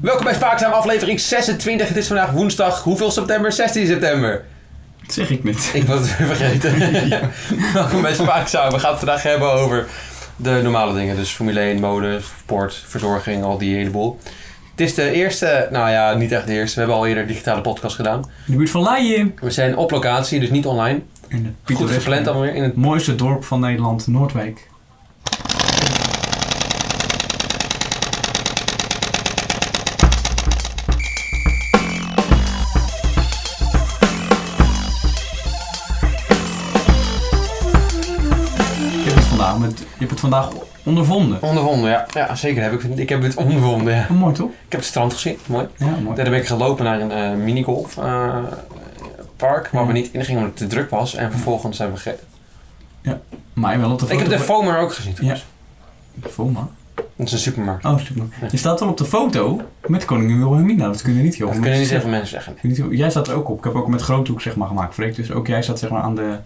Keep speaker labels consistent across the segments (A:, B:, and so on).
A: Welkom bij Spaakzaam, aflevering 26. Het is vandaag woensdag, hoeveel september? 16 september.
B: Dat zeg ik niet.
A: Ik was het weer vergeten. Welkom bij Spaakzaam. We gaan het vandaag hebben over de normale dingen. Dus Formule 1, mode, sport, verzorging, al die hele boel. Het is de eerste, nou ja, niet echt de eerste. We hebben al eerder digitale podcast gedaan.
B: De buurt van Laaien.
A: We zijn op locatie, dus niet online.
B: In het
A: Goed gepland allemaal weer. In het...
B: mooiste dorp van Nederland, Noordwijk. Je hebt het vandaag, met, je hebt het vandaag ondervonden.
A: Ondervonden, ja. Ja, zeker heb ik. Ik heb het ondervonden, ja.
B: Oh, mooi toch?
A: Ik heb het strand gezien, mooi.
B: Ja, mooi.
A: Daarna ben ik gelopen naar een eh minigolf eh, park, waar we
B: Ja.
A: niet in gingen omdat het te druk was. En vervolgens zijn we gegeten.
B: Maar wel op de
A: Ik
B: foto.
A: heb de FOMA ook gezien trouwens.
B: Foma.
A: Dat is een supermarkt.
B: Oh, super. Je staat dan op de foto met koningin Wilhelmina. Dat kunnen niet heel
A: Dat
B: veel
A: kunnen niet
B: mensen
A: zoveel mensen zeggen.
B: zeggen. Niet heel- Jij staat er ook op. Ik heb ook met groothoek zeg maar, gemaakt, Freek. Dus ook jij staat zeg maar, aan, de,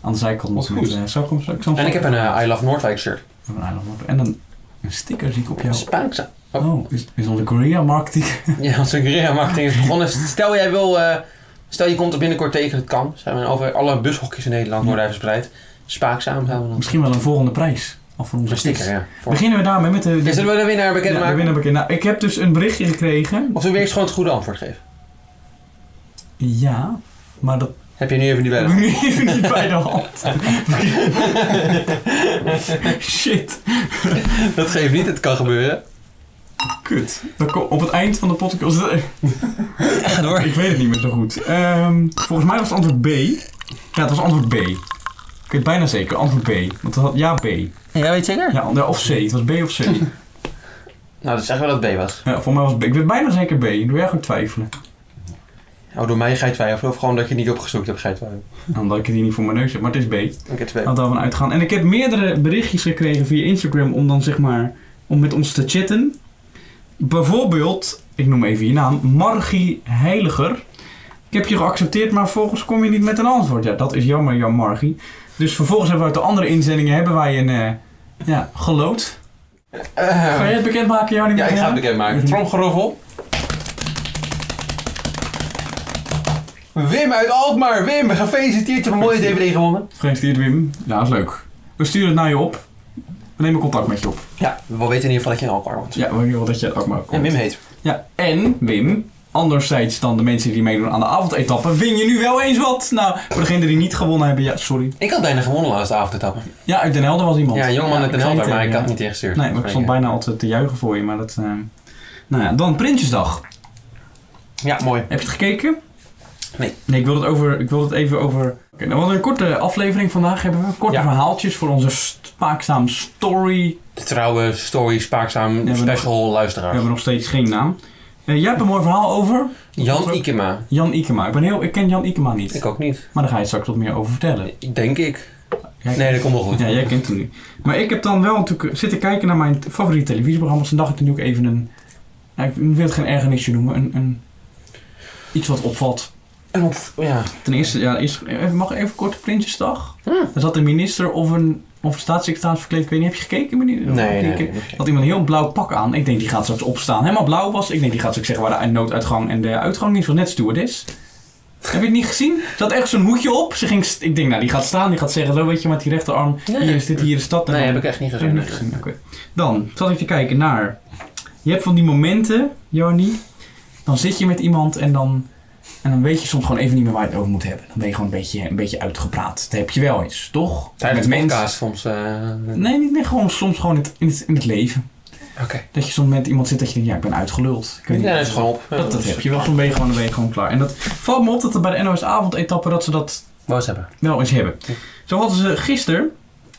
B: aan de zijkant. nog
C: Wat
B: met,
C: goed.
B: eh, zal ik hem- zal ik zo'n
A: En ik heb
B: foto-
A: een eh, I Love Noordwijk shirt.
B: Ik heb een eiland op. En een, een sticker zie ik op jou.
A: Spaakzaam.
B: Oh, is, is onze Korea marketing.
A: Ja, als een guerrilla marketing is begonnen. Stel jij wil, eh, stel je komt er binnenkort tegen, het kan. Zijn we over alle bushokjes in Nederland worden even verspreid. Spaakzaam gaan we dan.
B: Misschien wel een volgende prijs. Al voor onze
A: Een sticker,
B: kids.
A: ja. Voor...
B: Beginnen we daarmee met de...
A: Ja, zullen we de winnaar
B: Ja, de
A: bekendmaken?
B: winnaar bekend. Nou, ik heb dus een berichtje gekregen.
A: Of zullen we weer eens gewoon het goede antwoord geven?
B: Ja, maar dat
A: Heb je nu even die
B: heb
A: bellen?
B: ik nu even niet bij de hand. Shit.
A: Dat geeft niet, het kan gebeuren.
B: Kut. Dan ko- op het eind van de podcast. Oh,
A: Ga door.
B: Ik weet het niet meer zo goed. Ehm, volgens mij was het antwoord B. Ja, het was antwoord B. Ik weet bijna zeker, antwoord B. Want dat had, ja, B.
A: Jij weet zeker?
B: Ja, nee, of C. Het was B of C.
A: Nou, dat zeggen we dat het B was.
B: Ja, voor mij was het B. Ik weet bijna zeker B. Doe jij gewoon twijfelen.
A: Oh, door mij ga je twijfelen of gewoon dat je het niet opgezocht hebt, ga je twijfelen.
B: Omdat ik het hier niet voor mijn neus heb, maar het is B.
A: Ik heb twee.
B: Laten we daarvan uitgaan. En ik heb meerdere berichtjes gekregen via Instagram om dan zeg maar om met ons te chatten. Bijvoorbeeld, ik noem even je naam, Margie Heiliger. Ik heb je geaccepteerd, maar vervolgens kom je niet met een antwoord. Ja, dat is jammer, Jan Margie. Dus vervolgens hebben we uit de andere inzendingen hebben wij een eh ja, geloot. Ga jij het bekendmaken, Jan?
A: Eh, ja, ik ga het bekendmaken.
B: Mhm.
A: Tromgeroffel. Wim uit Alkmaar. Wim, gefeliciteerd. Je hebt een mooie DVD gewonnen.
B: Gefeliciteerd, Wim. Ja, dat is leuk. We sturen het naar je op. We nemen contact met je op.
A: Ja, we weten in ieder geval dat je in Alkmaar woont.
B: Ja, we willen dat je het ook maar komt.
A: En Wim heet.
B: Ja, en Wim, anderzijds dan de mensen die meedoen aan de avondetappen, win je nu wel eens wat. Nou, voor degenen die niet gewonnen hebben, ja, sorry.
A: Ik had bijna gewonnen laatste avondetappen.
B: Ja, uit Den Helder was iemand.
A: Ja, een jongman uit Den
B: ik zei
A: Helder, maar ik
B: het,
A: had
B: eh,
A: niet ingestuurd.
B: Nee, maar ik stond bijna altijd te juichen voor je, maar dat... eh, Nou ja, dan Prinsjesdag.
A: Ja, mooi.
B: Heb je het gekeken?
A: Nee.
B: Nee, ik wil het, over, ik wil het even over... Oké, nou, we hadden een korte aflevering vandaag. Hebben we korte
A: Ja.
B: verhaaltjes voor onze spaakzaam story.
A: De trouwe, story, spaakzaam,
B: we
A: special
B: We
A: luisteraar.
B: hebben nog steeds geen naam. Eh, jij hebt een mooi verhaal over
A: Jan Ikema.
B: Jan Ikema. Ik, ben heel, ik ken Jan Ikema niet.
A: Ik ook niet.
B: Maar daar ga je straks wat meer over vertellen.
A: Denk ik.
B: Jij-
A: Nee, dat komt wel goed.
B: Ja, jij kent hem nu. Maar ik heb dan wel natuurlijk eh, zitten kijken naar mijn t- favoriete televisieprogramma's. En dacht ik nu ook even een... Nou, ik wil het geen ergernisje noemen. Een, een, iets wat opvalt.
A: En op, ja.
B: Ten eerste, ja, eerst, eh, even, mag ik even kort Prinsjesdag?
A: Hm.
B: Er zat een minister of een, of een staatssecretaris verkleed. Ik weet niet, heb je gekeken meneer? Of
A: Nee, nee,
B: gekeken?
A: nee. nee.
B: Had iemand een heel blauw pak aan. Ik denk, die gaat straks opstaan. Helemaal blauw was. Ik denk, die gaat straks zeggen waar de nooduitgang en de uitgang is. Was net stewardess. Heb je het niet gezien? Ze had echt zo'n hoedje op. Ze ging st- ik denk, nou, die gaat staan. Die gaat zeggen, zo weet je, met die rechterarm.
A: Nee.
B: Hier is dit, hier is dat. En
A: Nee,
B: dan-
A: heb ik echt niet
B: dat heb
A: gezien.
B: ik niet gezien. Oké. Dan zat ik te kijken naar... Je hebt van die momenten, Joni. Dan zit je met iemand en dan... En dan weet je soms gewoon even niet meer waar je het over moet hebben. Dan ben je gewoon een beetje, een beetje uitgepraat. Dat heb je wel eens, toch?
A: Tijdens
B: Met
A: de
B: mensen.
A: podcast soms. eh,
B: Nee, niet meer. Gewoon soms gewoon in het, in het, in het leven.
A: Oké.
B: Dat je soms met iemand zit dat je denkt, ja, ik ben uitgeluld. Ik weet
A: Ja,
B: niet.
A: dat is gewoon op. eh, Ja,
B: dat, dat heb je wel, dan ben je, gewoon, dan ben je gewoon klaar. En dat valt me op dat er bij de NOS avondetappe dat ze dat
A: Wou eens hebben.
B: wel eens hebben. Zo hadden ze gisteren,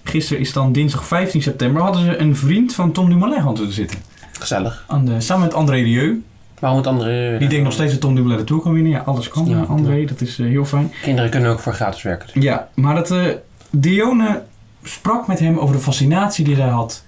B: gisteren is dan dinsdag 15 september, hadden ze een vriend van Tom Dumoulin gaan te zitten.
A: Gezellig.
B: Aan de, samen met André Rieu.
A: Waarom het andere...
B: Die denkt nog steeds dat Tom Dumoulin de Tour kan winnen. Ja, alles kan.
A: Ja,
B: eh, André, dat is eh, heel fijn.
A: Kinderen kunnen ook voor gratis werken. dus.
B: Ja, maar dat eh, Dione sprak met hem over de fascinatie die hij had.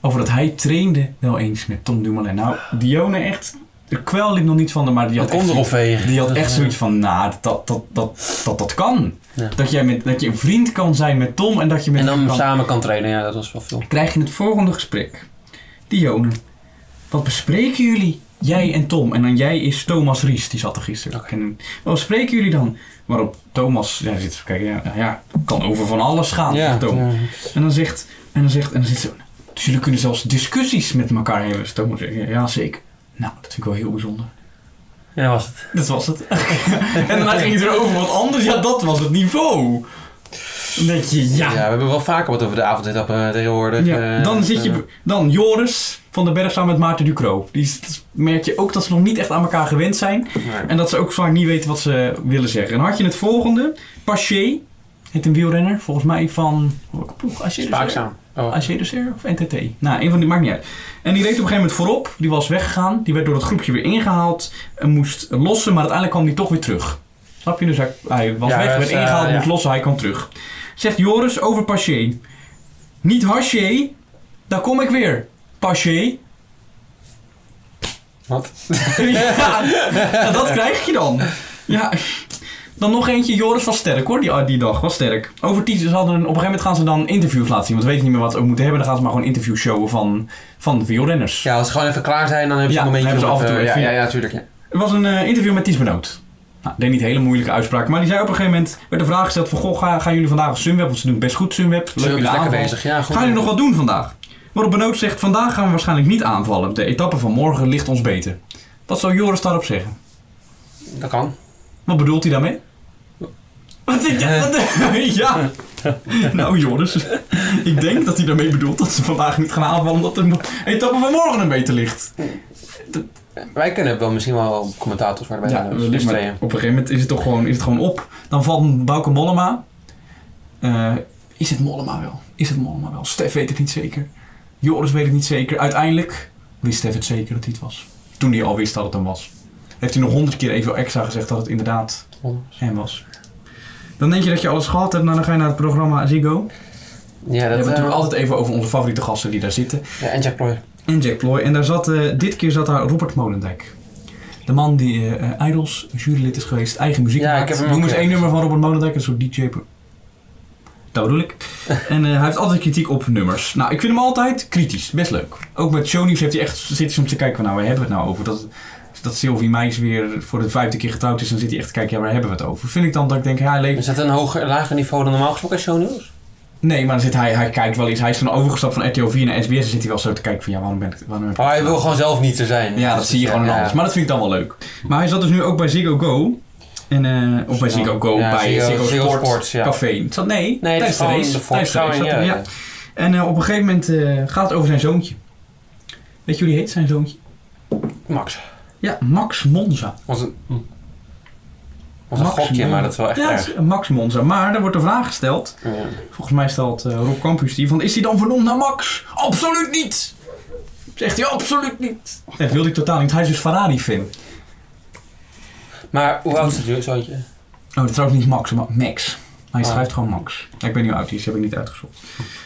B: Over dat hij trainde wel eens met Tom Dumoulin. Nou, Dione echt... De kwel liep nog niet van hem, maar die had
A: Dat
B: echt
A: komt erop vegen.
B: Die had echt
A: eh,
B: zoiets van, nou, dat dat, dat, dat, dat kan.
A: Ja.
B: Dat, jij met, dat je een vriend kan zijn met Tom en dat je met
A: En dan
B: hem kan...
A: samen kan trainen, ja, dat was wel veel.
B: Krijg je het volgende gesprek. Dione, wat bespreken jullie? Jij en Tom. En dan jij is Thomas Ries, die zat er gisteren.
A: Oké.
B: En, wat spreken jullie dan? Waarop Thomas ja, zit te kijken. Ja, nou ja, kan over van alles gaan.
A: Ja,
B: zegt Thomas.
A: ja.
B: En dan zegt, en dan zegt, en dan zit ze. Dus jullie kunnen zelfs discussies met elkaar hebben. Dus Thomas zegt, ja zeker. Nou, dat vind ik wel heel bijzonder.
C: Ja, dat was het.
B: Dat was het. en daarna ging het weer over wat anders. Ja, dat was het niveau. Dan denk je,
A: Ja,
B: ja.
A: we hebben wel vaker wat over de avondetappen tegenwoordig.
B: ja.
A: eh,
B: Dan zit
A: eh,
B: je, dan Joris van den Berg samen met Maarten Ducro. Die is- merk je ook dat ze nog niet echt aan elkaar gewend zijn.
A: maar-
B: En dat ze ook vaak niet weten wat ze willen zeggen. En dan had je het volgende. Paché, heet een wielrenner. Volgens mij van, welke ploeg? Als je dus-
A: Spaakzaam. Oh.
B: AC de Ser of NTT? Nou, een van die maakt niet uit. En die reed op een gegeven moment voorop. Die was weggegaan. Die werd door dat groepje weer ingehaald. En moest lossen, maar uiteindelijk kwam die toch weer terug. Snap je? Dus hij, hij was
A: Ja,
B: weg,
A: hij
B: werd
A: was, eh,
B: ingehaald,
A: ja.
B: moest lossen, hij kwam terug. Zegt Joris over Paché. Niet Haché, daar kom ik weer. Paché.
A: Wat?
B: ja, nou, dat krijg je dan. Ja. Dan nog eentje, Joris was sterk hoor, die, die dag, was sterk. Over teasers hadden, op een gegeven moment gaan ze dan interviews laten zien, want we weten niet meer wat ze ook moeten hebben. Dan gaan ze maar gewoon interviews showen van, van de wielrenners.
A: Ja, als ze gewoon even klaar zijn, dan hebben ze
B: Ja,
A: een momentje.
B: dan hebben ze
A: om
B: af en
A: even-
B: toe even-
A: Ja, ja, ja, natuurlijk. Ja.
B: Er was een eh, interview met Ties Benoot. Nou, deed niet hele moeilijke uitspraak, maar die zei op een gegeven moment, werd de vraag gesteld van, goh, ga- gaan jullie vandaag Sunweb, want ze doen best goed Sunweb.
A: Ze zijn
B: jullie
A: lekker
B: aanval.
A: bezig. Ja, goed.
B: Gaan jullie nog wat doen vandaag? Waarop Benoot zegt, vandaag gaan we waarschijnlijk niet aanvallen. De etappe van morgen ligt ons beter. Wat zou Joris daarop zeggen?
A: Dat kan.
B: Wat bedoelt hij daarmee? Wat is dat? Wat- Ja. Nou, Joris. Ik denk dat hij daarmee bedoelt dat ze vandaag niet gaan aanvallen omdat de mo- etappe van morgen een beter ligt.
A: Wij kunnen wel misschien wel commentators worden bij de dus
B: maar
A: tweeën.
B: op een gegeven moment is het toch gewoon, is het gewoon op. Dan valt Bouke Mollema. Eh, is het Mollema wel? Is het Mollema wel? Stef weet het niet zeker. Joris weet het niet zeker. Uiteindelijk wist Stef het zeker dat hij het was. Toen hij al wist dat het hem was. Heeft hij nog honderd keer even extra gezegd dat het inderdaad en was. Dan denk je dat je alles gehad hebt, nou dan ga je naar het programma Ziggo. We
A: Ja,
B: hebben
A: dat
B: het
A: eh,
B: natuurlijk altijd even over onze favoriete gasten die daar zitten.
A: ja, en Jack Ploy.
B: En Jack Ploy. En daar zat, eh, dit keer zat daar Robert Molendijk. De man die eh, eh, Idols jurylid is geweest, eigen muziek
A: Ja,
B: maakt.
A: ik heb hem
B: Noem
A: ook,
B: eens
A: ja.
B: één nummer van Robert Molendijk, een soort DJ. pro- Dat bedoel ik. en eh, hij heeft altijd kritiek op nummers. Nou, ik vind hem altijd kritisch, best leuk. Ook met shownieuws heeft hij echt, zit hij soms te kijken van nou, waar hebben we het nou over? Dat, dat Sylvie Meijs weer voor de vijfde keer getrouwd is, dan zit hij echt te kijken, ja, waar hebben we het over? Vind ik dan dat ik denk, ja, hij leeft
A: Is dat een hoger, lager niveau dan normaal gesproken show nieuws?
B: Nee, maar dan zit hij, hij kijkt wel eens. Hij is dan overgestapt van RTL 4 naar SBS. Dan zit hij wel zo te kijken van ja, waarom ben ik. Waarom heb ik
A: Oh, hij wil gewoon zelf niet er zijn. Dus
B: Ja, dat zie je gewoon in
A: ja,
B: alles.
A: ja.
B: Maar dat vind ik dan wel leuk. Maar hij zat dus nu ook bij Ziggo Go. En, eh, of bij
A: Ja.
B: Ziggo Go,
A: Ja,
B: bij
A: Ziggo-
B: Ziggo,
A: Ziggo
B: Sport,
A: Sports, ja.
B: Café. Het Zat, nee,
A: Nee, dat is
B: tijdens de
A: gewoon de
B: race. tijdens de
A: voorbeschouwing.
B: race zat
A: Ja,
B: hij,
A: ja.
B: ja. En eh, op een gegeven moment eh, gaat het over zijn zoontje. Weet je hoe die heet, zijn zoontje?
A: Max.
B: Ja, Max Monza.
A: Was een, was een
B: Max
A: gokje,
B: Mon-
A: maar dat is wel echt
B: Ja, het
A: erg.
B: is Max Monza. Maar er wordt de vraag gesteld
A: Ja.
B: Volgens mij stelt eh, Rob Campus die van, is die dan vernoemd naar Max? Absoluut niet! Zegt hij, absoluut niet! Dat wilde ik totaal niet. Hij is dus Ferrari-fan.
A: Maar hoe oud is het zoontje?
B: Oh, dat is trouwens niet Max, maar Max. Hij
A: Ah.
B: schrijft gewoon Max. Ja, ik weet niet hoe oud hij is, heb ik niet uitgezocht.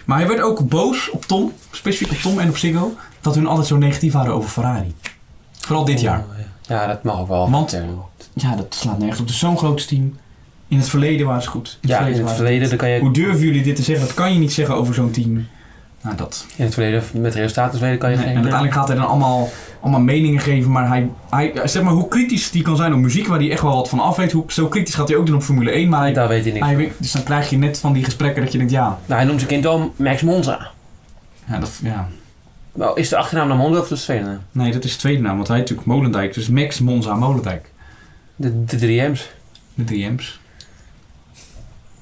B: Maar hij werd ook boos op Tom, specifiek op Tom en op Ziggo, dat hun altijd zo negatief waren over Ferrari. Vooral dit jaar.
A: Oh, Ja, dat mag ook wel.
B: Want-
A: Ja,
B: Ja, dat slaat nergens op. Het is zo'n groot team. In het verleden waren ze goed. In
A: in het
B: waren ze
A: verleden dan kan
B: goed.
A: je...
B: Hoe durven jullie dit te zeggen? Dat kan je niet zeggen over zo'n team. Nou, dat...
A: In het verleden, met resultaten verleden kan je
B: Nee,
A: geen...
B: en uiteindelijk gaat hij dan allemaal, allemaal meningen geven, maar hij, hij, zeg maar hoe kritisch die kan zijn op muziek, waar hij echt wel wat van af weet, hoe, zo kritisch gaat hij ook doen op Formule 1, maar hij,
A: Daar weet hij niks.
B: hij weet- dus dan krijg je net van die gesprekken dat je denkt, ja,
A: Nou, hij noemt zijn kind wel Max Monza.
B: ja, dat, ja.
A: Wel, is de achternaam dan Monza of de tweede naam?
B: nee, dat is de tweede naam, want hij is natuurlijk Molendijk, dus Max Monza Molendijk,
A: De, de drie M's.
B: de DM's.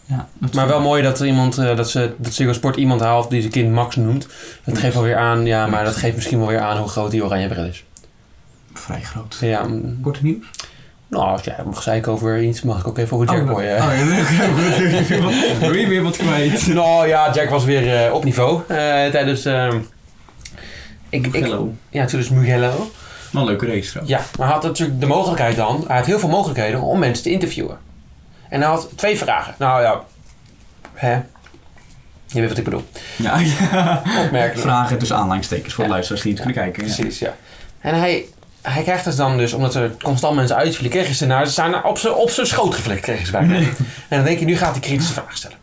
B: Ja, dat-
A: Maar wel mooi dat er iemand, eh, dat ze dat Ziggo Sport iemand haalt die zijn kind Max noemt. Dat geeft alweer aan, ja, maar dat geeft misschien wel weer aan hoe groot die oranje bril is.
B: Vrij groot.
A: Ja, mm,
B: Korte nieuws?
A: nou, als jij mag zeiken over iets, mag ik ook even over Jack
B: oh,
A: gooien.
B: oh, ja, wil je weer wat kwijt?
A: Nou ja, Jack was weer eh, op niveau eh, tijdens... ehm, ik, ik,
B: Hello.
A: ja, tijdens Mugello.
B: Wel een leuke race trouwens.
A: Ja, maar hij had natuurlijk de mogelijkheid dan. Hij had heel veel mogelijkheden om mensen te interviewen. En hij had twee vragen. Nou ja, hè? Je weet wat ik bedoel.
B: Ja, ja.
A: Opmerkelijk.
B: Vragen tussen aanleidingstekens voor de
A: Ja.
B: luisteraars die niet kunnen kijken. ja.
A: Precies, ja. En hij, hij krijgt dus dan dus, omdat er constant mensen uitvielen, kregen ze naar, ze zijn op zijn op zijn schoot geflikt, kregen ze bijna.
B: Nee.
A: En dan denk je, nu gaat hij kritische vragen stellen.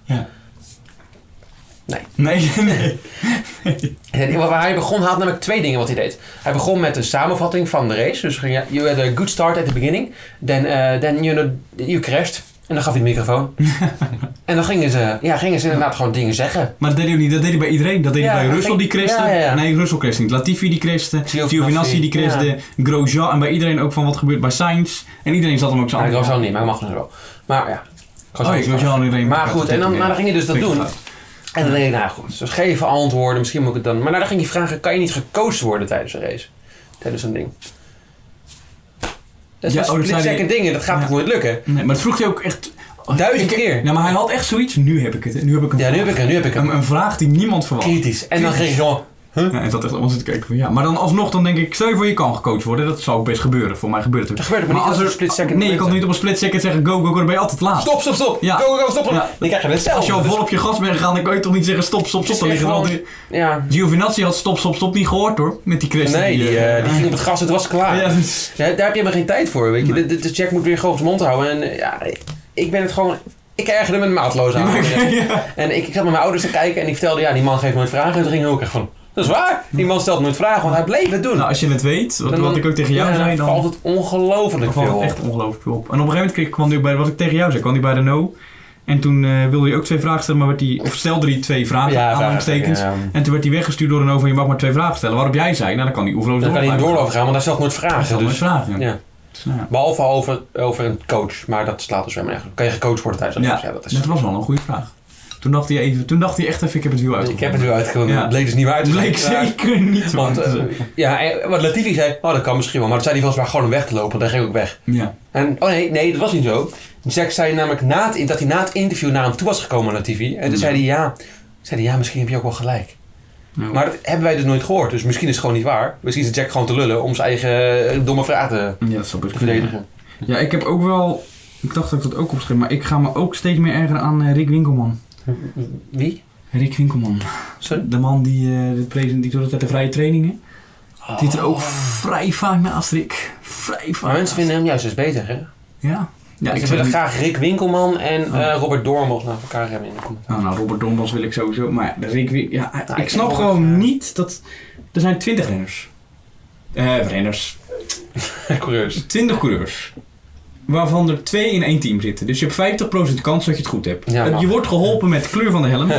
B: Nee, nee.
A: En waar hij begon had namelijk twee dingen wat hij deed. Hij begon met een samenvatting van de race. Dus ging, ja, you had a good start at the beginning. Then, eh, then you, know, you crashed. En dan gaf hij de microfoon. en dan gingen ze, ja, gingen ze inderdaad gewoon dingen zeggen.
B: Maar dat deed hij ook niet. Dat deed hij bij iedereen. Dat deed
A: Ja,
B: hij bij
A: dat
B: Russell, die
A: ging-
B: christen.
A: ja, ja, ja.
B: Nee, Russell christen niet. Latifi, die christen.
A: Giovinazzi,
B: Giovinazzi, die christen. Grosjean. En bij iedereen ook van wat gebeurt bij Sainz. En iedereen zat hem ook zo
A: Maar
B: aan.
A: ik was al niet, maar ik mag dus wel. Maar ja.
B: Oh, ja, Grosjean en iedereen.
A: Maar goed, en dan, maar dan ging je dus dat
B: Vind ik
A: doen.
B: fout.
A: En dan denk ik, nou goed, dus geef antwoorden, misschien moet ik het dan... Maar nou, dan ging hij vragen, kan je niet gecoacht worden tijdens een race? Tijdens een ding. Dat
B: Ja,
A: is
B: oh,
A: een
B: dat zei hij-
A: second dingen, dat gaat
B: Ja.
A: toch nooit lukken?
B: Nee, maar het vroeg hij ook echt...
A: Duizend
B: Ik-
A: keer.
B: Nee, maar hij had echt zoiets. Nu heb ik het. Nu heb ik een
A: Ja, nu heb ik hem, nu heb ik
B: Een,
A: hem.
B: een vraag die niemand verwacht.
A: Kritisch. En dan ging je gewoon...
B: Ja, en zat echt allemaal zitten kijken van ja. Maar dan alsnog, dan denk ik, stel je voor je kan gecoacht worden. Dat zou ook best gebeuren. Voor mij gebeurt het
A: Dat
B: ook.
A: gebeurt maar niet als er split second
B: Nee, je kan niet op een split second zeggen go, go, go, dan ben je altijd laat.
A: Stop, stop, stop!
B: Ah. Ja.
A: Go, go, go, stop!
B: Ja.
A: Dan krijg je het zelf.
B: Als je al vol op je gas bent gegaan, dan kan je toch niet zeggen stop, stop, stop. Dan liggen er al die...
A: Ja.
B: Giovinazzi had stop, stop, stop niet gehoord hoor. Met die Christen.
A: Nee, die, eh, die ging op het gas, het was klaar.
B: Ja, dus-
A: Ja, daar heb je maar geen tijd voor, weet je. De, de, de check moet weer gewoon zijn mond houden. En eh, ja, ik ben het gewoon... Ik ergerde me maatloos aan.
B: ja.
A: En ik, ik zat met mijn ouders te kijken en die vertelde, ja, die man geeft nooit vragen. En toen ging ik ook echt van, dat is waar. Die man stelt nooit vragen, want hij bleef het doen.
B: Nou, als je het weet, wat,
A: Dan-
B: wat ik ook tegen jou
A: ja,
B: zei, dan
A: valt het ongelooflijk
B: dan valt
A: veel
B: het
A: op.
B: echt ongelooflijk veel op. En op een gegeven moment kreeg- kwam hij ook bij, wat ik tegen jou zei, kwam hij bij de no. En toen eh, wilde hij ook twee vragen stellen, maar werd hij, of stelde hij twee vragen,
A: Ja,
B: aanhalingstekens.
A: vragen, ja.
B: En toen werd hij weggestuurd door een over, je mag maar twee vragen stellen. Waarop jij zei, nou dan kan hij oefenloos
A: Dan kan hij in doorloop gaan, want hij stelt nooit vragen.
B: Dus,
A: Dus,
B: vragen.
A: ja.
B: Dus, nou ja.
A: Behalve over, over een coach, maar dat slaat dus helemaal nergens. op. Kan je gecoacht worden tijdens een
B: Ja,
A: race? Ja, dat is...
B: dat was wel een goede vraag. Toen dacht hij, even, toen dacht hij echt even, ik heb het wiel
A: Ik
B: uitgevonden.
A: heb het nu uitgevonden.
B: Ja.
A: Het bleek dus niet waar te
B: Het
A: zijn.
B: bleek
A: Ja.
B: zeker niet waar
A: Want,
B: te zijn.
A: eh, ja, en wat Latifi zei, oh dat kan misschien wel. Maar dat zei hij volgens mij gewoon om weg te lopen. Dan ging ik ook weg.
B: Ja.
A: En, oh nee, nee, dat was niet zo. Jack zei namelijk na het, dat hij na het interview naar hem toe was gekomen naar TV. En toen
B: Ja.
A: zei hij ja. Zei hij, ja, misschien heb je ook wel gelijk.
B: Nou,
A: Maar dat hebben wij dus nooit gehoord. Dus misschien is het gewoon niet waar. Misschien is Jack gewoon te lullen om zijn eigen eh, domme vraag te
B: ja, dat zou best
A: te
B: kunnen.
A: verdedigen.
B: Ja, ik heb ook wel. Ik dacht dat ik dat ook opschreef, maar ik ga me ook steeds meer ergeren aan eh, Rick Winkelman.
A: Wie?
B: Rick Winkelman.
A: Sorry?
B: De man die, eh de present, die doet altijd de vrije trainingen.
A: Oh.
B: Die zit er ook vrij vaak naast Rick. Vrij vaak.
A: Maar mensen
B: naast.
A: vinden hem juist eens beter, hè?
B: Ja. Ja,
A: ik
B: ik
A: wil
B: zou graag.
A: graag Rick Winkelman en
B: Oh.
A: eh, Robert Doornbos naast elkaar hebben in de commentaar.
B: Nou, nou, Robert Dombos wil ik sowieso. Maar ja, Rick Win- ja,
A: Nou,
B: ik
A: ik
B: snap
A: vind
B: gewoon
A: wel, eh,
B: niet dat. Er zijn twintig renners. Eh, renners.
A: Coureurs.
B: Twintig coureurs. Waarvan er twee in één team zitten. Dus je hebt 50% kans dat je het goed hebt.
A: Ja,
B: Eh,
A: maar-
B: je wordt geholpen met de kleur van de helm.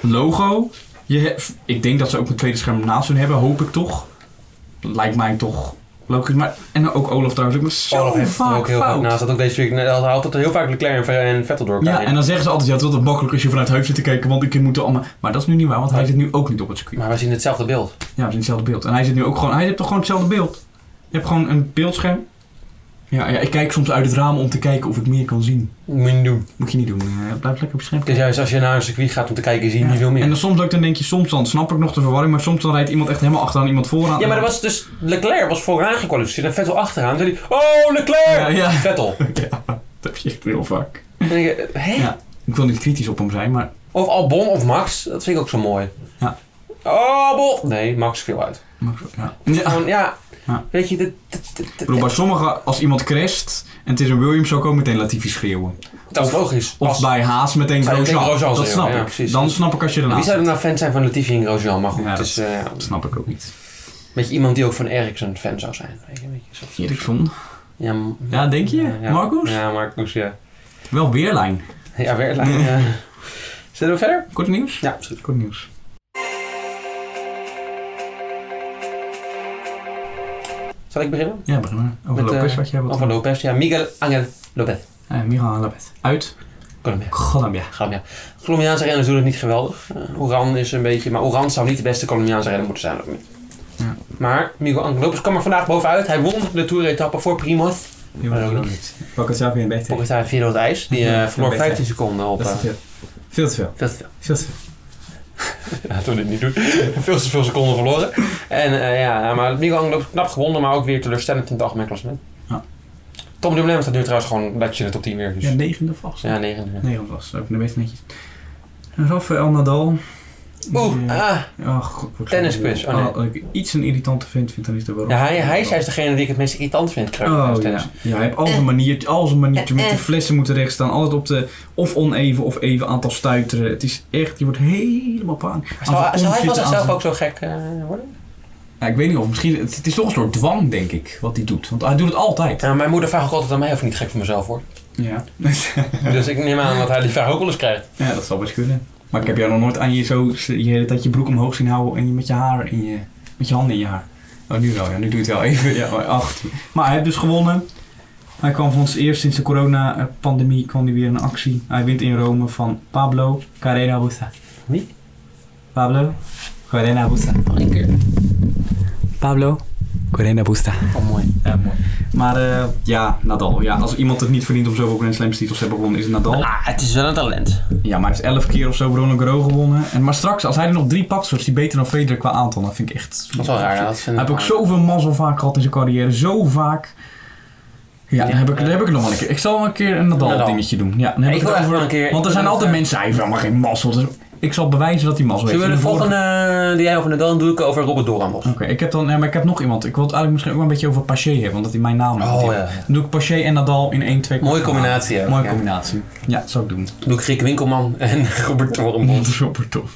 B: logo. Je hebt- ik denk dat ze ook een tweede scherm naast hun hebben, hoop ik toch. Lijkt mij toch logisch. Maar, en ook Olaf trouwens, ook maar zo
A: Olaf heeft
B: vaak
A: ook heel
B: fout.
A: vaak naast dat ook deze week. Hij had altijd heel vaak Leclerc en Ver- en Vettel door elkaar
B: ja,
A: heen.
B: en dan zeggen ze altijd, ja, het is altijd makkelijk als je vanuit huis zit te kijken, want ik moet er allemaal... Maar dat is nu niet waar, want hij zit nu ook niet op het circuit.
A: Maar we zien hetzelfde beeld.
B: Ja, we zien hetzelfde beeld. En hij zit nu ook gewoon, hij heeft toch gewoon hetzelfde beeld. Je hebt gewoon een beeldscherm. Ja, ja, ik kijk soms uit het raam om te kijken of ik meer kan zien.
A: Moet je niet doen.
B: Moet je niet doen, eh, blijf lekker op je scherm
A: Het is juist als je naar een circuit gaat om te kijken, zie je
B: Ja.
A: niet veel meer.
B: En dan soms ook, dan denk je, soms dan snap ik nog de verwarring, maar soms dan rijdt iemand echt helemaal achteraan, iemand vooraan.
A: Ja, maar er was dus Leclerc was vooraan gekwalificeerd en Vettel achteraan. Toen zei hij, oh Leclerc!
B: Ja, ja.
A: Vettel.
B: Ja, dat heb je echt heel vaak.
A: Dan denk ik, hè?
B: Ja. Ik wil niet kritisch op hem zijn, maar
A: Of Albon of Max, dat vind ik ook zo mooi.
B: Ja.
A: Oh, Albon! Nee, Max viel uit.
B: maar- ja. ja.
A: Gewoon, ja.
B: Ja.
A: Weet je, dit, dit- dit- dit-
B: Ik bedoel, bij sommigen, als iemand crasht en het is een Williams, zou ik ook meteen Latifi schreeuwen.
A: dat is logisch.
B: Of
A: Als-
B: bij Haas meteen
A: Zou je
B: Grosjean.
A: meteen Grosjean
B: dat
A: schreeuwen,
B: snap
A: ja,
B: ik.
A: precies.
B: Dan snap ik als je
A: Wie
B: ernaast
A: zou er
B: zit.
A: nou fan zijn van Latifi en Grosjean? Maar goed,
B: Ja,
A: het
B: dat-
A: is eh, ja,
B: Dat snap ik ook niet.
A: een beetje iemand die ook van Ericsson fan zou zijn. Weet je, een beetje zo.
B: Eriksson.
A: Ja, m-
B: Ja, denk je?
A: ja.
B: Marcus?
A: Ja, Marcus, ja.
B: Wel weerlijn.
A: Ja, weer ja. Zullen we verder?
B: Kort nieuws?
A: Ja, absoluut.
B: Kort nieuws.
A: Zal ik beginnen?
B: Ja, begin maar. Over
A: Met,
B: Lopez,
A: eh,
B: wat jij wilt.
A: Van Lopez, ja. Miguel Angel Lopez.
B: Eh, Miguel Lopez. Uit
A: Colombia.
B: Colombia.
A: Colombia. Colombiaanse renners doen het niet geweldig. Eh, Oran is een beetje... Maar Oran zou niet de beste Colombiaanse renner moeten zijn op het moment.
B: Ja.
A: Maar Miguel Angel Lopez kwam er vandaag bovenuit. Hij won de Tour-etappe voor Primoz.
B: Die
A: Maar
B: was
A: ook
B: ook niet. Pak het zelf weer in beter.
A: Volgens daar vierde op het ijs. Die eh
B: Ja,
A: verloor
B: beter.
A: 15 seconden op...
B: Dat is te
A: eh,
B: veel. Veel te
A: veel
B: veel.
A: te veel.
B: Veel te veel.
A: Ja, toen dit niet doen. veel te veel seconden verloren. En eh, ja, maar Miguel Angel Lopez knap gewonnen. Maar ook weer teleurstellend in het algemeen klassement.
B: Ja.
A: Tom Dumoulin staat nu trouwens gewoon netjes in de top 10 weer. Dus.
B: Ja, negende vast.
A: Ja, 9.
B: Nee, dat was ook de best netjes. Rafael Nadal
A: Oeh,
B: Die, eh,
A: ah.
B: oh, god, wat ik zo
A: Tennisquiz,
B: bedoel.
A: oh, nee.
B: als ik iets een irritante vind, vind dan is dat wel.
A: Ja, hij, hij is juist degene die ik het meest irritant vind.
B: Oh
A: trouwens,
B: ja.
A: tijdens-
B: ja, hij heeft al zijn manier, al zijn maniertje met die flessen moeten rechtstaan. Altijd op de of oneven of even aantal stuiteren. Het is echt, je wordt helemaal paan. Aan
A: Zou,
B: zijn
A: zou hij
B: kont
A: van
B: zitten, aan
A: zichzelf
B: zijn-
A: ook zo gek eh, worden?
D: Ja, ik weet niet of misschien. Het, het is toch een soort dwang, denk ik, wat hij doet. Want hij doet het altijd.
A: Nou, mijn moeder vraagt ook altijd aan mij of ik niet gek van mezelf word.
B: Ja.
A: dus ik neem aan dat hij die vraag ook wel eens krijgt.
B: ja, dat zal best kunnen. Maar ik heb jou nog nooit aan je zo je hele tijd je broek omhoog zien houden en je met je haar in je, met je handen in je haar.
D: Oh, nu wel. Ja, nu doe je het wel even.
B: Ja, maar acht. Maar hij heeft dus gewonnen. Hij kwam voor ons eerst sinds de coronapandemie kwam hij weer in actie. Hij wint in Rome van Pablo Carrera Busta.
A: Wie?
B: Pablo Carrera Busta.
A: Eén keer.
B: Pablo Carrera Busta.
A: Oh, mooi.
B: Ja, mooi. Maar eh, ja, Nadal. Ja, als iemand het niet verdient om zoveel Grand Slams titels te hebben gewonnen, is het Nadal.
A: Ah, het is wel een talent.
B: Ja, maar hij heeft 11 keer of zo Roland Garros gewonnen. En, maar straks, als hij er nog drie pakt, zo is hij beter dan Federer qua aantal. Dat vind ik echt...
A: Dat is wel raar. hè? Dat is een-
B: Hij heeft ook zoveel mazzel vaak gehad in zijn carrière. Zo vaak. Ja, dan heb ik, dan heb ik nog wel een keer. Ik zal wel een keer een Nadal
A: Nadal.
B: dingetje doen. Ja, dan heb
A: Ik
B: ik
A: wil echt
B: het over-
A: wel een keer-
B: Want
A: ik
B: er zijn
A: wil
B: altijd
A: echt-
B: mensen, hij heeft helemaal geen mazzel. Dus ik zal bewijzen dat hij mazzel heeft.
A: Zullen we de
B: In vorige-
A: volgende eh, die jij over Nadal doet, doe ik over Robert Doornbos.
B: Oké, ik heb dan, ja, maar ik heb nog iemand. Ik wil het eigenlijk misschien ook wel een beetje over Paché hebben, want dat hij mijn naam heeft.
A: Oh ja.
B: Dan doe ik Paché en Nadal in 1, 2
A: Mooie combinatie. hè?
B: Mooie
A: Ja.
B: combinatie. Ja, dat zou ik doen.
A: Doe ik Griek Winkelman en Robert
B: Hm.
A: Doornbos.
B: Robert Thomas.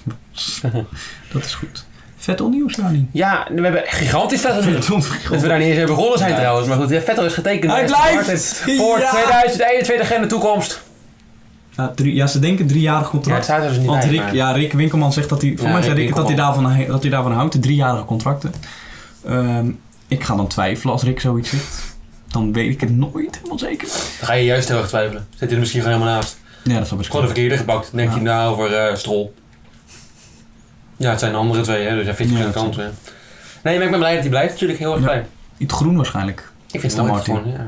B: Dat is goed. Vet onnieuws, Dani.
A: Ja, we hebben gigantisch dat we, dat we
B: Hij
A: daar niet eens hebben begonnen zijn trouwens. Maar goed, ja, Vettel is getekend.
B: blijft!
A: Voor
B: Ja.
A: 2021 en de toekomst.
B: Ja, drie- ja, ze denken driejarig
A: Ja, het
B: contract.
A: staat er dus niet
B: Want
A: bij,
B: Rick,
A: maar-
B: ja, Rick Winkelman zegt dat hij... Voor
A: Ja,
B: mij
A: Rick
B: zei Rick dat hij, daarvan, dat hij daarvan houdt. Driejarige contracten. Ehm, ik ga dan twijfelen als Rick zoiets zegt. Dan weet ik het nooit helemaal zeker.
A: Dan ga je juist heel erg twijfelen. Zit hij er misschien gewoon helemaal naast.
B: Ja, dat zal best
A: Gewoon de
B: kunnen.
A: verkeerde gebakt. Dan denkt
B: Ja.
A: hij nou over eh, Strol. Ja, het zijn de andere twee, hè, dus hij vindt
B: Ja,
A: geen
B: dat
A: kans. hè. Nee, maar ik ben blij dat hij blijft. Natuurlijk heel erg
B: Ja.
A: blij.
B: In het groen waarschijnlijk.
A: Ik vind het
B: Dan
A: mooi
B: Martin.
A: gewoon. Ja.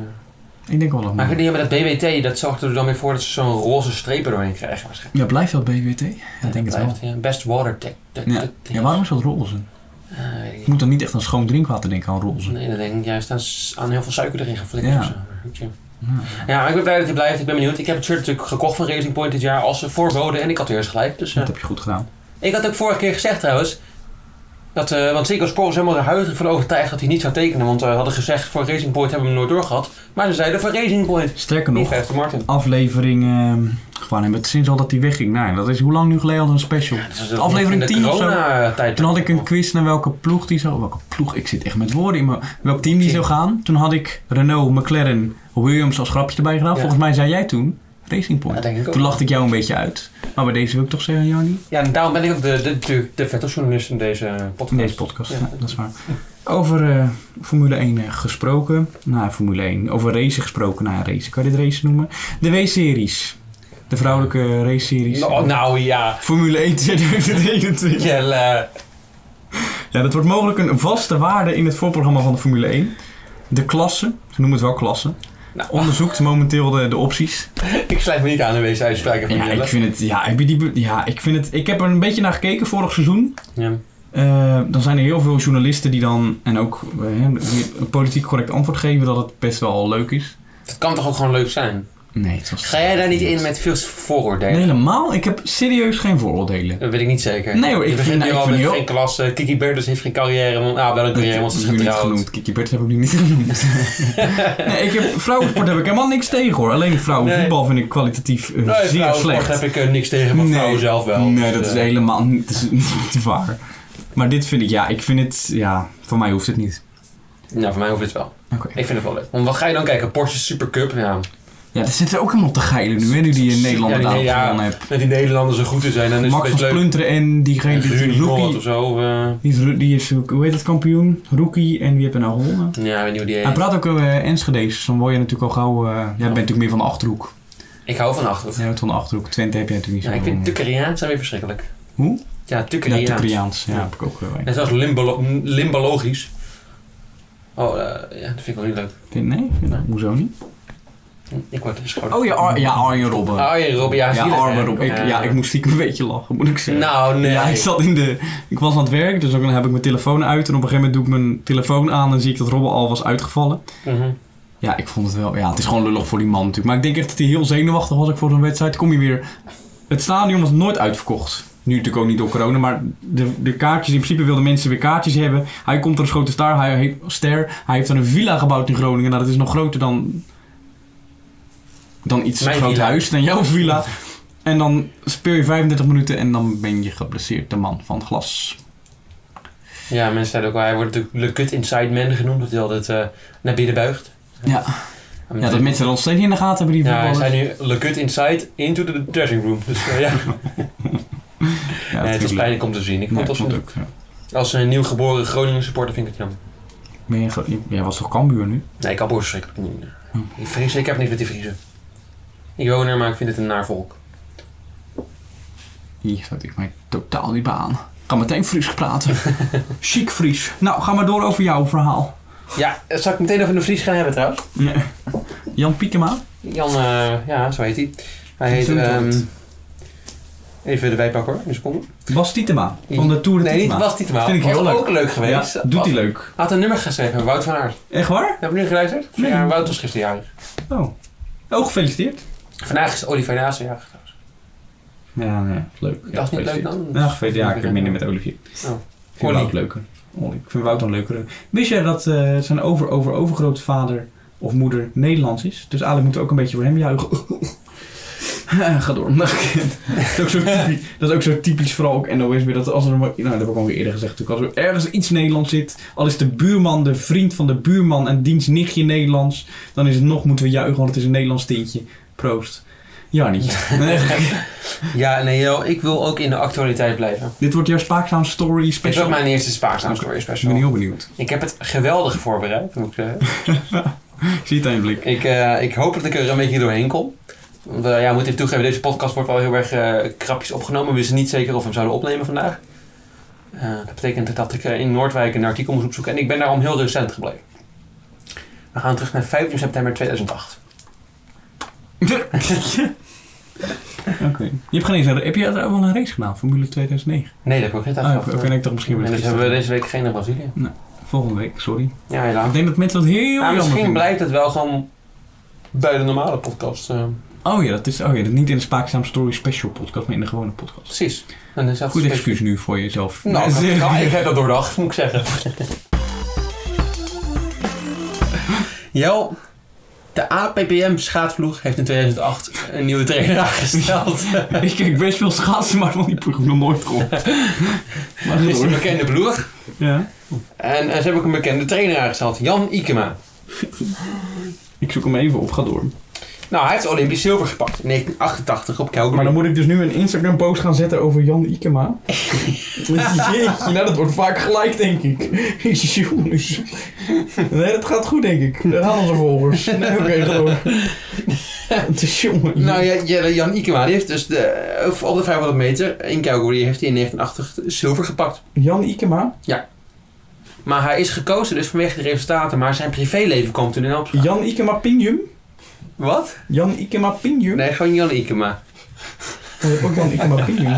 B: Ik denk wel dat
A: Maar
B: het-
A: die hebben dat BWT, dat zorgt er dan weer voor dat ze zo'n roze streep er doorheen krijgen waarschijnlijk.
B: Ja, blijft dat BWT? Ja, ik denk het wel.
A: Blijft, ja. Best water tech. tech-
B: Ja.
A: tech-
B: Ja, waarom is dat roze?
A: Ah, weet ik
B: Ik
A: niet.
B: moet dan niet echt aan schoon drinkwater denken, aan roze.
A: Nee, dan denk ik juist aan, s- aan heel veel suiker erin geflikkerd.
B: Ja.
A: of zo. Goed, Ja.
B: Nou,
A: ja, maar ik ben blij dat hij blijft. Ik ben benieuwd. Ik heb het shirt natuurlijk gekocht van Racing Point dit jaar als ze voorboden. En ik had weer eens gelijk. Dus, eh,
B: Dat heb je goed gedaan.
A: ik had ook vorige keer gezegd trouwens. Dat, eh, want Zico Sport is helemaal er huidig van overtuigd dat hij niet zou tekenen. Want we hadden gezegd, voor Racing Point hebben we hem nooit doorgehad. Maar ze zeiden, voor Racing Point.
B: Sterker
A: Niet
B: nog,
A: Aston Martin.
B: aflevering... ehm gewoon hebben het sinds al dat die wegging. Nou, dat is hoe lang nu geleden al een special.
A: Dat is
B: Aflevering
A: in de
B: 10 of zo.
A: corona-tijd.
B: Toen had ik een quiz naar welke ploeg die zou... Welke ploeg? Ik zit echt met woorden in mijn... Welk team die zou gaan. Toen had ik Renault, McLaren, Williams als grapje erbij gedaan.
A: Ja.
B: Volgens mij zei jij toen Racing
A: Ja,
B: Point.
A: denk ik ook.
B: toen lachte ik jou een beetje uit. Maar bij deze wil ik toch zeggen, Jarni?
A: Ja, en daarom ben ik ook de, de, de, de vetteljournalist in deze eh,
B: In
A: podcast.
B: deze podcast,
A: Ja.
B: ja, dat is waar. Over eh, Formule 1 eh, gesproken. Nou, Formule 1. Over racen gesproken. Nou, race. Kan je dit race noemen? De W-series. De vrouwelijke race-series.
A: Nou, nou ja.
B: Formule 1 2021.
A: Jelle.
B: Ja, dat wordt mogelijk een vaste waarde in het voorprogramma van de Formule 1. De klasse, ze noemen het wel klasse,
A: Nou,
B: onderzoekt momenteel de, de opties.
A: ik sluit me niet aan in deze uitspraken van
B: Ja,
A: Jelle.
B: ik vind het, ja, heb je die, be- ja, ik vind het, ik heb er een beetje naar gekeken vorig seizoen.
A: Ja.
B: Eh, dan zijn er heel veel journalisten die dan, en ook eh, die een politiek correct antwoord geven dat het best wel leuk is.
A: Dat kan toch ook gewoon leuk zijn?
B: Nee, het was...
A: Ga jij daar niet in met veel vooroordelen?
B: Nee, helemaal. Ik heb serieus geen vooroordelen.
A: Dat weet ik niet zeker.
B: Nee hoor, ik
A: Je begint
B: vind-
A: nu
B: ik
A: al
B: vind
A: met
B: heel-
A: geen klasse. Kiki Bertens heeft geen carrière. want- Ah, wel een carrière, want ze is
B: nu niet
A: getrouwd.
B: genoemd. Kiki Bert heb ik nu niet genoemd. nee, ik heb, vrouwensport heb ik helemaal niks tegen hoor. Alleen vrouwenvoetbal vind ik kwalitatief eh,
A: Nee,
B: zeer
A: vrouwensport
B: slecht.
A: heb ik eh, niks tegen, maar vrouwen zelf wel.
B: Nee,
A: Dus,
B: dat
A: eh,
B: is helemaal niet, dat is niet waar. Maar dit vind ik, ja, ik vind het, ja, voor mij hoeft het niet.
A: Nou, voor mij hoeft dit wel.
B: Oké.
A: Ik vind het wel leuk. Want wat ga je dan kijken? Porsche Supercup? Ja.
B: Ja, dat zit er ook helemaal te geilen nu, hè, nu die in Nederland
A: Ja,
B: ja,
A: die- ja.
B: gewonnen hebt.
A: Dat die Nederlanders zo goed in zijn, dan is
B: Max
A: het
B: van
A: best leuk.
B: Splunteren en diegene, die,
A: Ruud
B: die
A: Nicolet of
B: rookie,
A: zo. eh,
B: die is, ro- die is, ook- hoe heet dat, kampioen? Rookie en wie heb er nou gewonnen?
A: ja, ik weet niet hoe die
B: Hij
A: heet.
B: praat ook eh Enschede's, dus dan word je natuurlijk al gauw, eh, jij bent natuurlijk meer van de Achterhoek.
A: Ik hou van Achterhoek.
B: Jij bent van de Achterhoek, Twente heb jij natuurlijk
A: Ja,
B: niet zo
A: ik vind
B: van-
A: Tukkeriaans zijn weer verschrikkelijk.
B: Hoe?
A: Ja,
B: Ja,
A: Tukkeriaans.
B: Tukkeriaans, ja, heb ik ook eh, wel. een.
A: Net zoals limbolo limbologisch. Oh, eh, ja, dat vind ik wel niet leuk.
B: Nee,
A: Nee.
B: hoezo niet?
A: Ik word beschouwd.
B: Oh ja, Ar- ja Arjen Robben.
A: Oh ja, Rob, ja,
B: Ja,
A: zielig, hè?
B: arme Rob. Ik, ja, ik moest stiekem een beetje lachen, moet ik zeggen.
A: Nou, nee.
B: Ja, ik zat in de... Ik was aan het werk, dus ook dan heb ik mijn telefoon uit. En op een gegeven moment doe ik mijn telefoon aan en zie ik dat Robben al was uitgevallen.
A: Mhm.
B: Ja, ik vond het wel... Ja, het is gewoon lullig voor die man natuurlijk. Maar ik denk echt dat hij heel zenuwachtig was ook voor zo'n wedstrijd. Kom je weer... Het stadion was nooit uitverkocht. Nu natuurlijk ook niet door corona, maar de, de kaartjes, in principe wilden mensen weer kaartjes hebben. Hij komt door een grote star, hij, heeft- ster, hij heeft dan een villa gebouwd in Groningen. Nou, dat is nog groter dan, dan iets
A: Mijn
B: groot
A: villa.
B: huis, dan jouw villa. En dan speel je 35 minuten en dan ben je geblesseerd, de man van glas.
A: Ja, mensen zeiden ook wel, hij wordt natuurlijk Le Cut Inside Man genoemd, dat hij altijd eh, naar binnen buigt.
B: Ja. Ja, dat mensen er ons steeds niet in de gaten hebben, die
A: Ja, hij
B: voetballers.
A: zei nu Le Cut Inside into the dressing room. Dus eh, ja,
B: Ja,
A: nee, het is
B: tuurlijk.
A: pijnlijk om te zien. Ik
B: Nee,
A: vond
B: ik
A: dat
B: vond
A: als,
B: het ook. Ja.
A: een, als een nieuwgeboren Groningen supporter vind ik het jammer.
B: Ben je, ge- jij was toch Cambuur nu?
A: Nee, ik kan boos verschrikkelijk niet.
B: Hm.
A: Ik, vries, ik heb niks met die Vriezen. Ik woon er, maar ik vind het een naar volk.
B: Hier zat ik mij totaal niet bij aan. Kan meteen Fries praten. Chic Fries. Nou, ga maar door over jouw verhaal.
A: Ja, eh, zal ik meteen over de Vries gaan hebben trouwens?
B: Jan Piekema.
A: Jan, eh, ja, zo heet hij. Hij heet...
B: Zo
A: ehm,
B: wordt.
A: even erbij pakken hoor, een seconde.
B: Bas Tietema. Van de Tour de
A: Nee, niet
B: Tietema.
A: was niet maar.
B: Vind ik heel
A: was
B: leuk.
A: ook leuk geweest.
B: Ja, doet hij leuk.
A: Had een nummer geschreven, Wout van Aert.
B: Echt waar?
A: Heb je nu geluisterd?
B: Nee.
A: Ja, Wout was gisteren jarig.
B: Oh. Oh, gefeliciteerd.
A: Vandaag is Olivier Naassen jarig.
B: Ja, nee. Leuk.
A: Dat is niet leuk dan?
B: Ja, gefeliciteerd. Ja, ik heb minder met Olivier.
A: Oh.
B: Ik vind Wout
A: Ollie.
B: leuker. Ollie. Ik vind Wout een leuker. Wist jij dat eh, zijn over, over, overgrootvader of moeder Nederlands is? Dus eigenlijk moeten we ook een beetje voor hem juichen. Ga door. dat, is ook zo typisch, dat is ook zo typisch, vooral ook NOS weer. Dat als er, maar- nou, dat heb ik al eerder gezegd. natuurlijk. Als er ergens iets Nederlands zit, al is de buurman de vriend van de buurman en diens nichtje Nederlands, dan is het nog moeten we juichen, want het is een Nederlands tintje. Proost. Jannie.
A: Ja, nee, joh, ik wil ook in de actualiteit blijven.
B: Dit wordt jouw Spaakzaam Story
A: Het is ook
B: special.
A: mijn eerste Spaarzaam Story
B: Ik ben
A: special.
B: heel benieuwd.
A: Ik heb het geweldig voorbereid, moet ik zeggen.
B: Ik zie het aan je blik.
A: Ik, eh, ik hoop dat ik er een beetje doorheen kom. Want, eh, ja, ik moet even toegeven, deze podcast wordt wel heel erg eh, krapjes opgenomen. We wisten niet zeker of we hem zouden opnemen vandaag. Eh, dat betekent dat ik eh, in Noordwijk een artikel moest opzoeken. En ik ben daarom heel recent gebleven. We gaan terug naar 15 september 2008.
B: Oké. Je hebt geen eens een, heb je er wel een race gedaan, Formule 2009?
A: Nee, dat heb ik ook niet
B: Ah,
A: uitgehaald.
B: oké, oké, nee, ik dacht misschien
A: en
B: weer
A: dus
B: eens
A: hebben we
B: gisteren.
A: deze week geen naar Brazilië.
B: Volgende week, sorry.
A: Ja, helaas.
B: Ik denk dat mensen dat heel
A: Maar
B: jammer
A: misschien
B: vinden.
A: blijft het wel gewoon bij de normale podcast. eh,
B: Oh ja, dat is oh, ja, dat niet in de Spaakzaam Story Special podcast, maar in de gewone podcast.
A: precies. Dan is dat
B: Goed
A: speciaal.
B: excuus nu voor jezelf.
A: Nou,
B: Nee,
A: ik,
B: zeker.
A: nou, ik heb dat doordacht, moet ik zeggen. Jel, de APPM schaatsvloeg heeft in 2008 een nieuwe trainer aangesteld.
B: ik kijk best veel schaatsen, maar van die ploeg heb ik nog nooit gehoord. maar
A: Het is een
B: door.
A: bekende ploeg.
B: Ja.
A: En, en ze hebben ook een bekende trainer aangesteld, Jan Ikema.
B: Ik zoek hem even op, ga door.
A: Nou, hij heeft Olympisch zilver gepakt in 1988 op Calgary.
B: Maar dan moet ik dus nu een Instagram post gaan zetten over Jan Ikema. Jeetje, nou dat wordt vaak gelijk denk ik. Jezus, jongens. Nee, dat gaat goed denk ik. Dat halen onze volgers. Nee, oké, gewoon. Het is jongen.
A: Nou ja, ja, Jan Ikema die heeft dus de, eh, op de 500 meter in Calgary heeft hij in 1980 zilver gepakt.
B: Jan Ikema.
A: Maar hij is gekozen dus vanwege de resultaten, maar zijn privéleven kwam toen in opzicht.
B: Jan Ikema Pinjum.
A: Wat?
B: Jan Ikema Pinjum.
A: Nee, gewoon Jan Ikema.
B: Oh, je hebt ook Jan Ikema Pinjum.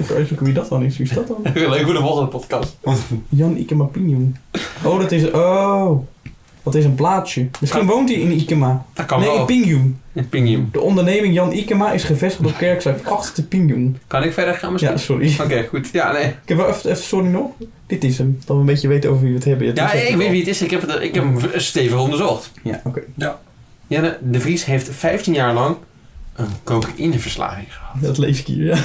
B: Even uitzoeken wie dat dan is. Wie is dat dan?
A: Leuk voor de volgende podcast.
B: Jan Ikema Pinjum. Oh, dat is... Oh. Dat is een plaatje. Misschien woont hij in Ikema.
A: Dat kan
B: nee,
A: wel.
B: in Pinjum.
A: Een pingium.
B: De onderneming Jan Ikema is gevestigd op Kerkstraat 8 te Pingjoen.
A: Kan ik verder gaan misschien?
B: Ja, sorry.
A: Oké, goed. Ja, nee.
B: Ik heb wel even, even sorry nog. Dit is hem. Dat we een beetje weten over wie we het hebben. Het
A: Ja,
B: is echt
A: ik
B: wel-
A: weet wie het is. Ik heb, het, ik heb hem stevig onderzocht.
B: Ja, oké.
A: Jenne de Vries heeft 15 jaar lang een cocaïneverslaving gehad.
B: Dat lees ik hier, ja.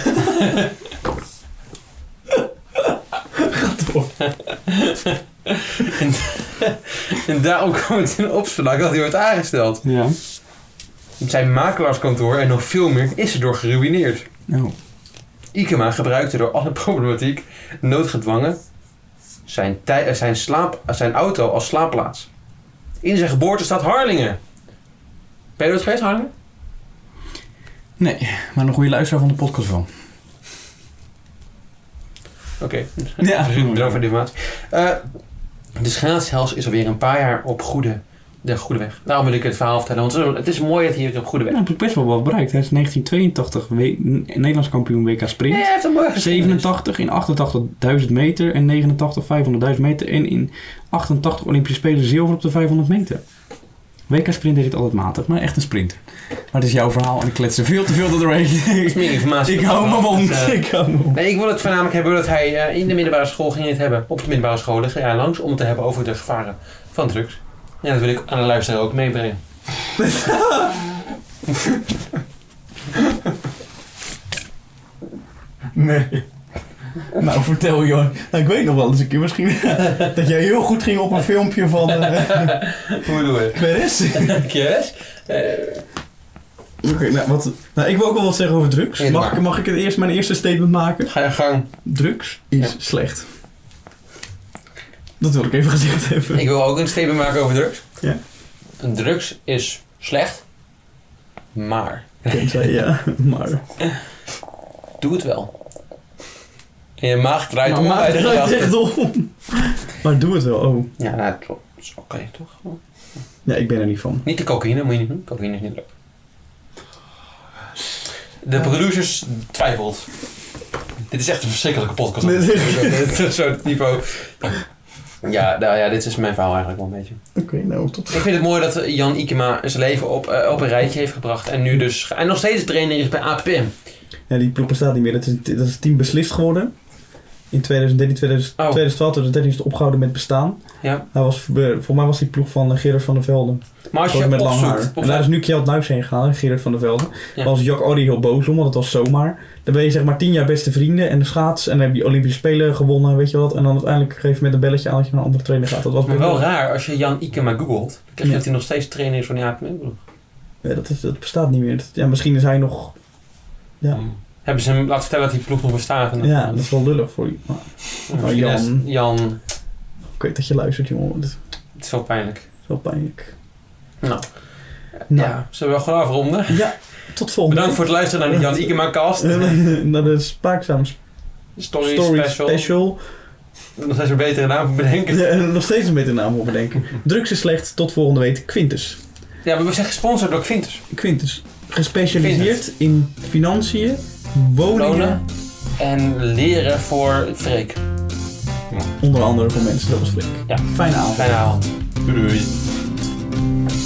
B: Gaat door.
A: En daarom kwam het in opspraak dat hij wordt aangesteld.
B: Ja.
A: Zijn makelaarskantoor en nog veel meer is erdoor geruineerd.
E: Nou.
B: Oh.
A: Ikema gebruikte door alle problematiek noodgedwongen zijn, tij- eh, zijn, slaap, eh, zijn auto als slaapplaats. In zijn geboortestad Harlingen. Ben je dat geweest, Harlingen?
D: Maar een goede luisteraar van de podcast wel.
A: Oké.
B: Ja.
A: Bedankt voor de informatie. Eh, de schaatshels is alweer een paar jaar op goede, de goede weg. Daarom wil ik het verhaal vertellen, want het is- het is mooi dat hij hier op goede weg
B: heb ik best wel wat bereikt. Hij is 1982 Nederlands kampioen WK
A: is.
B: Sprint.
A: hij heeft een mooie geschiedenis.
B: 87 in 88.000 meter en 89 500.000 meter en in 88 Olympische Spelen zilver op de 500 meter.
E: WK Sprint deed het altijd matig, maar echt een sprinter. Maar het is jouw verhaal en ik klets er veel te veel door doorheen.
A: is meer informatie.
E: ik hou mijn mond. Ik hou mijn mond.
A: Nee, ik wil het voornamelijk hebben dat hij eh, in de middelbare school ging het hebben. Op de middelbare scholen ging hij langs om het te hebben over de gevaren van drugs. Ja, dat wil ik aan de luisteraar ook meebrengen.
B: Nee. Nou, vertel joh. Nou, ik weet nog wel eens een keer misschien dat jij heel goed ging op een filmpje van eh
A: Hoe bedoel je?
B: Perez.
A: Yes?
B: Oké, nou, wat, nou, ik wil ook wel wat zeggen over drugs.
A: Nee, doe
B: Mag ik,
A: maar.
B: mag ik het eerst mijn eerste statement maken?
A: ga je gang.
B: Drugs is
A: Ja.
B: slecht. Dat wil ik even gezegd hebben.
A: Ik wil ook een statement maken over drugs.
B: Ja.
A: Drugs is slecht, maar
B: Tenzij, ja, maar...
A: doe het wel. En je maag draait om bij
B: maar
A: de
B: het Nou, draait
A: gedachte.
B: echt om. Maar doe het wel, oh.
A: Ja, nou, dat is oké toch?
B: Ja, ik ben er niet van.
A: Niet de cocaïne, moet je niet doen. Cocaïne is niet leuk. De
B: Eh.
A: producers twijfelt. Dit is echt een verschrikkelijke podcast.
B: Dit is-
A: Dit is Zo'n niveau. Ja, nou ja, dit is mijn verhaal eigenlijk wel een beetje.
B: Oké, nou, tot
A: Ik vind het mooi dat Jan Ikema zijn leven op, eh, op een rijtje heeft gebracht. En nu dus... En nog steeds trainer is bij APM.
B: Ja, die ploeg bestaat niet meer. Dat is, dat is team beslist geworden. In 2013, 2000,
A: Oh.
B: 2012, 2013 is het opgehouden met bestaan.
A: Ja.
B: Hij was, voor mij was die ploeg van eh, Gerard van der Velden.
A: Maar als
B: Gewoon
A: je
B: met lang haar.
A: opzoekt...
B: En daar is nu Kjeld Nuis heen gegaan, hè, Gerard van der Velden.
A: Ja.
B: Daar was Jack Oddy heel boos om, want het was zomaar. Dan ben je zeg maar tien jaar beste vrienden en de schaats. En dan heb je Olympische Spelen gewonnen, weet je wat. En dan uiteindelijk geef je met een belletje aan dat je naar een andere trainer gaat. Dat was
A: Maar wel
B: bijvoorbeeld-
A: raar, als je Jan Ikema googelt... dan krijg je
B: Ja.
A: dat hij nog steeds trainer is van de APM. ploeg.
B: Ja, dat, is, dat bestaat niet meer. Dat- ja, misschien is hij nog... Ja.
A: Hebben ze hem laten vertellen dat die ploeg nog bestaat. en dat-
B: Ja, dat is wel lullig voor je. Maar
A: Misschien
B: Jan.
A: is Jan...
B: ik weet dat je luistert, jongen. Dat is
A: Het is wel pijnlijk.
B: wel pijnlijk.
A: Nou.
B: Nou.
A: Ja, zullen we gewoon afronden?
B: Ja, tot volgende
A: Bedankt voor het luisteren naar de Jan Ikema-cast.
B: naar de Spaakzaam Story,
A: Story, special.
B: Special.
A: Nog steeds een betere naam voor bedenken.
B: Ja, en nog steeds een betere naam voor bedenken. Drugs is slecht, tot volgende week. Quintus.
A: Ja, maar we zijn gesponsord door Quintus.
B: Quintus. Gespecialiseerd in financiën, woningen,
A: Wonen. En leren voor Freek.
B: onder andere voor mensen. Dat was flink.
A: Ja.
B: Fijne avond.
A: Fijne avond. Doei. doei.